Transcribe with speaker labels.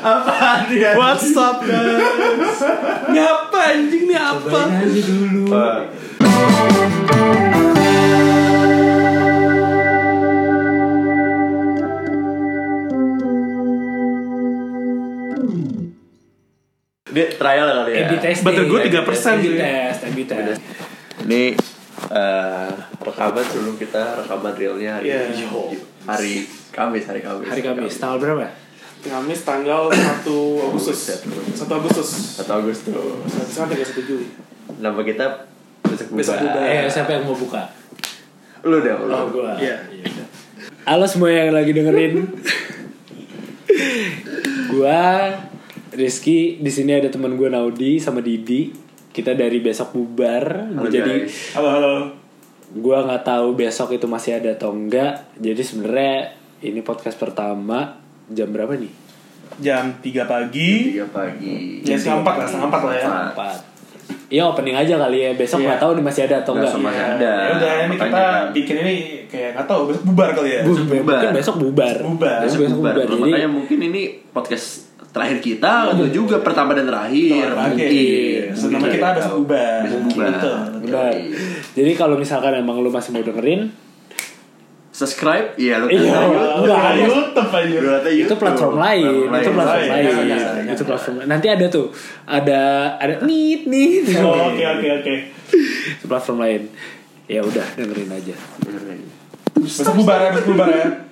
Speaker 1: Apaan dia?
Speaker 2: What's up guys? Ngapa anjing nih apa?
Speaker 3: Cobain aja dulu.
Speaker 1: Dia trial ya kali ya.
Speaker 3: Abi testing.
Speaker 2: Betul, gua 3%
Speaker 3: Abi
Speaker 2: tuh ya.
Speaker 3: test, Abi test.
Speaker 1: Ini eh, rekaman sebelum kita rekaman realnya hari
Speaker 2: Iya.
Speaker 1: Yo. hari Kamis hari Kamis
Speaker 3: Hari Kamis tanggal berapa?
Speaker 2: Kamis tanggal 1 Agustus 1 Agustus
Speaker 1: atau Agustus
Speaker 2: Sampai tanggal 1 Juli
Speaker 1: nama kita besok
Speaker 2: Besok
Speaker 1: buka.
Speaker 2: Buka.
Speaker 3: Eh, siapa yang mau buka?
Speaker 1: lu dah lu
Speaker 3: Oh, gua.
Speaker 2: Iya.
Speaker 3: udah. Halo semua yang lagi dengerin. gua Rizky, di sini ada teman gua Naudi sama Didi. Kita dari besok bubar. Gua
Speaker 1: Halo,
Speaker 3: jadi
Speaker 1: guys.
Speaker 2: Halo halo
Speaker 3: gua nggak tahu besok itu masih ada atau enggak. Jadi sebenarnya ini podcast pertama jam berapa nih?
Speaker 2: Jam 3 pagi
Speaker 1: tiga pagi
Speaker 2: Ya setengah 4 lah, setengah 4 lah ya
Speaker 1: Empat.
Speaker 3: Empat. Iya opening aja kali ya. Besok
Speaker 2: Iya.
Speaker 3: nggak tahu nih masih ada atau
Speaker 1: Nggak
Speaker 3: enggak.
Speaker 1: sama.
Speaker 2: Ya,
Speaker 1: ada.
Speaker 2: ya udah ini
Speaker 1: Makanya
Speaker 2: kita
Speaker 1: kan.
Speaker 2: bikin ini kayak nggak tahu besok bubar kali ya.
Speaker 3: Bu-
Speaker 1: Besok
Speaker 3: mungkin
Speaker 1: bubar.
Speaker 3: besok bubar.
Speaker 2: Bubar.
Speaker 3: Besok
Speaker 1: besok bubar Nah,
Speaker 3: bubar. Jadi
Speaker 1: makanya mungkin ini podcast terakhir kita atau juga pertama dan terakhir
Speaker 2: Oke. Senama kita ada
Speaker 1: Tahu.
Speaker 2: bubar.
Speaker 1: Besok bubar.
Speaker 2: Betul, betul.
Speaker 3: Benar.
Speaker 1: Yoi.
Speaker 3: Jadi kalau misalkan emang lu masih mau dengerin,
Speaker 1: subscribe iya lu
Speaker 3: Iya.
Speaker 1: tahu.
Speaker 2: Enggak, YouTube aja.
Speaker 1: Lu kata
Speaker 3: itu
Speaker 1: YouTube.
Speaker 3: platform lain, itu platform
Speaker 2: Iya, Lain,
Speaker 3: lain,
Speaker 2: lain, lain.
Speaker 3: itu platform. lain. Nanti ada tuh, ada ada nit nit,
Speaker 2: Oh, Oke, oke, oke.
Speaker 3: itu platform lain. Ya udah dengerin aja.
Speaker 2: Besok bubar ya, besok bubar ya.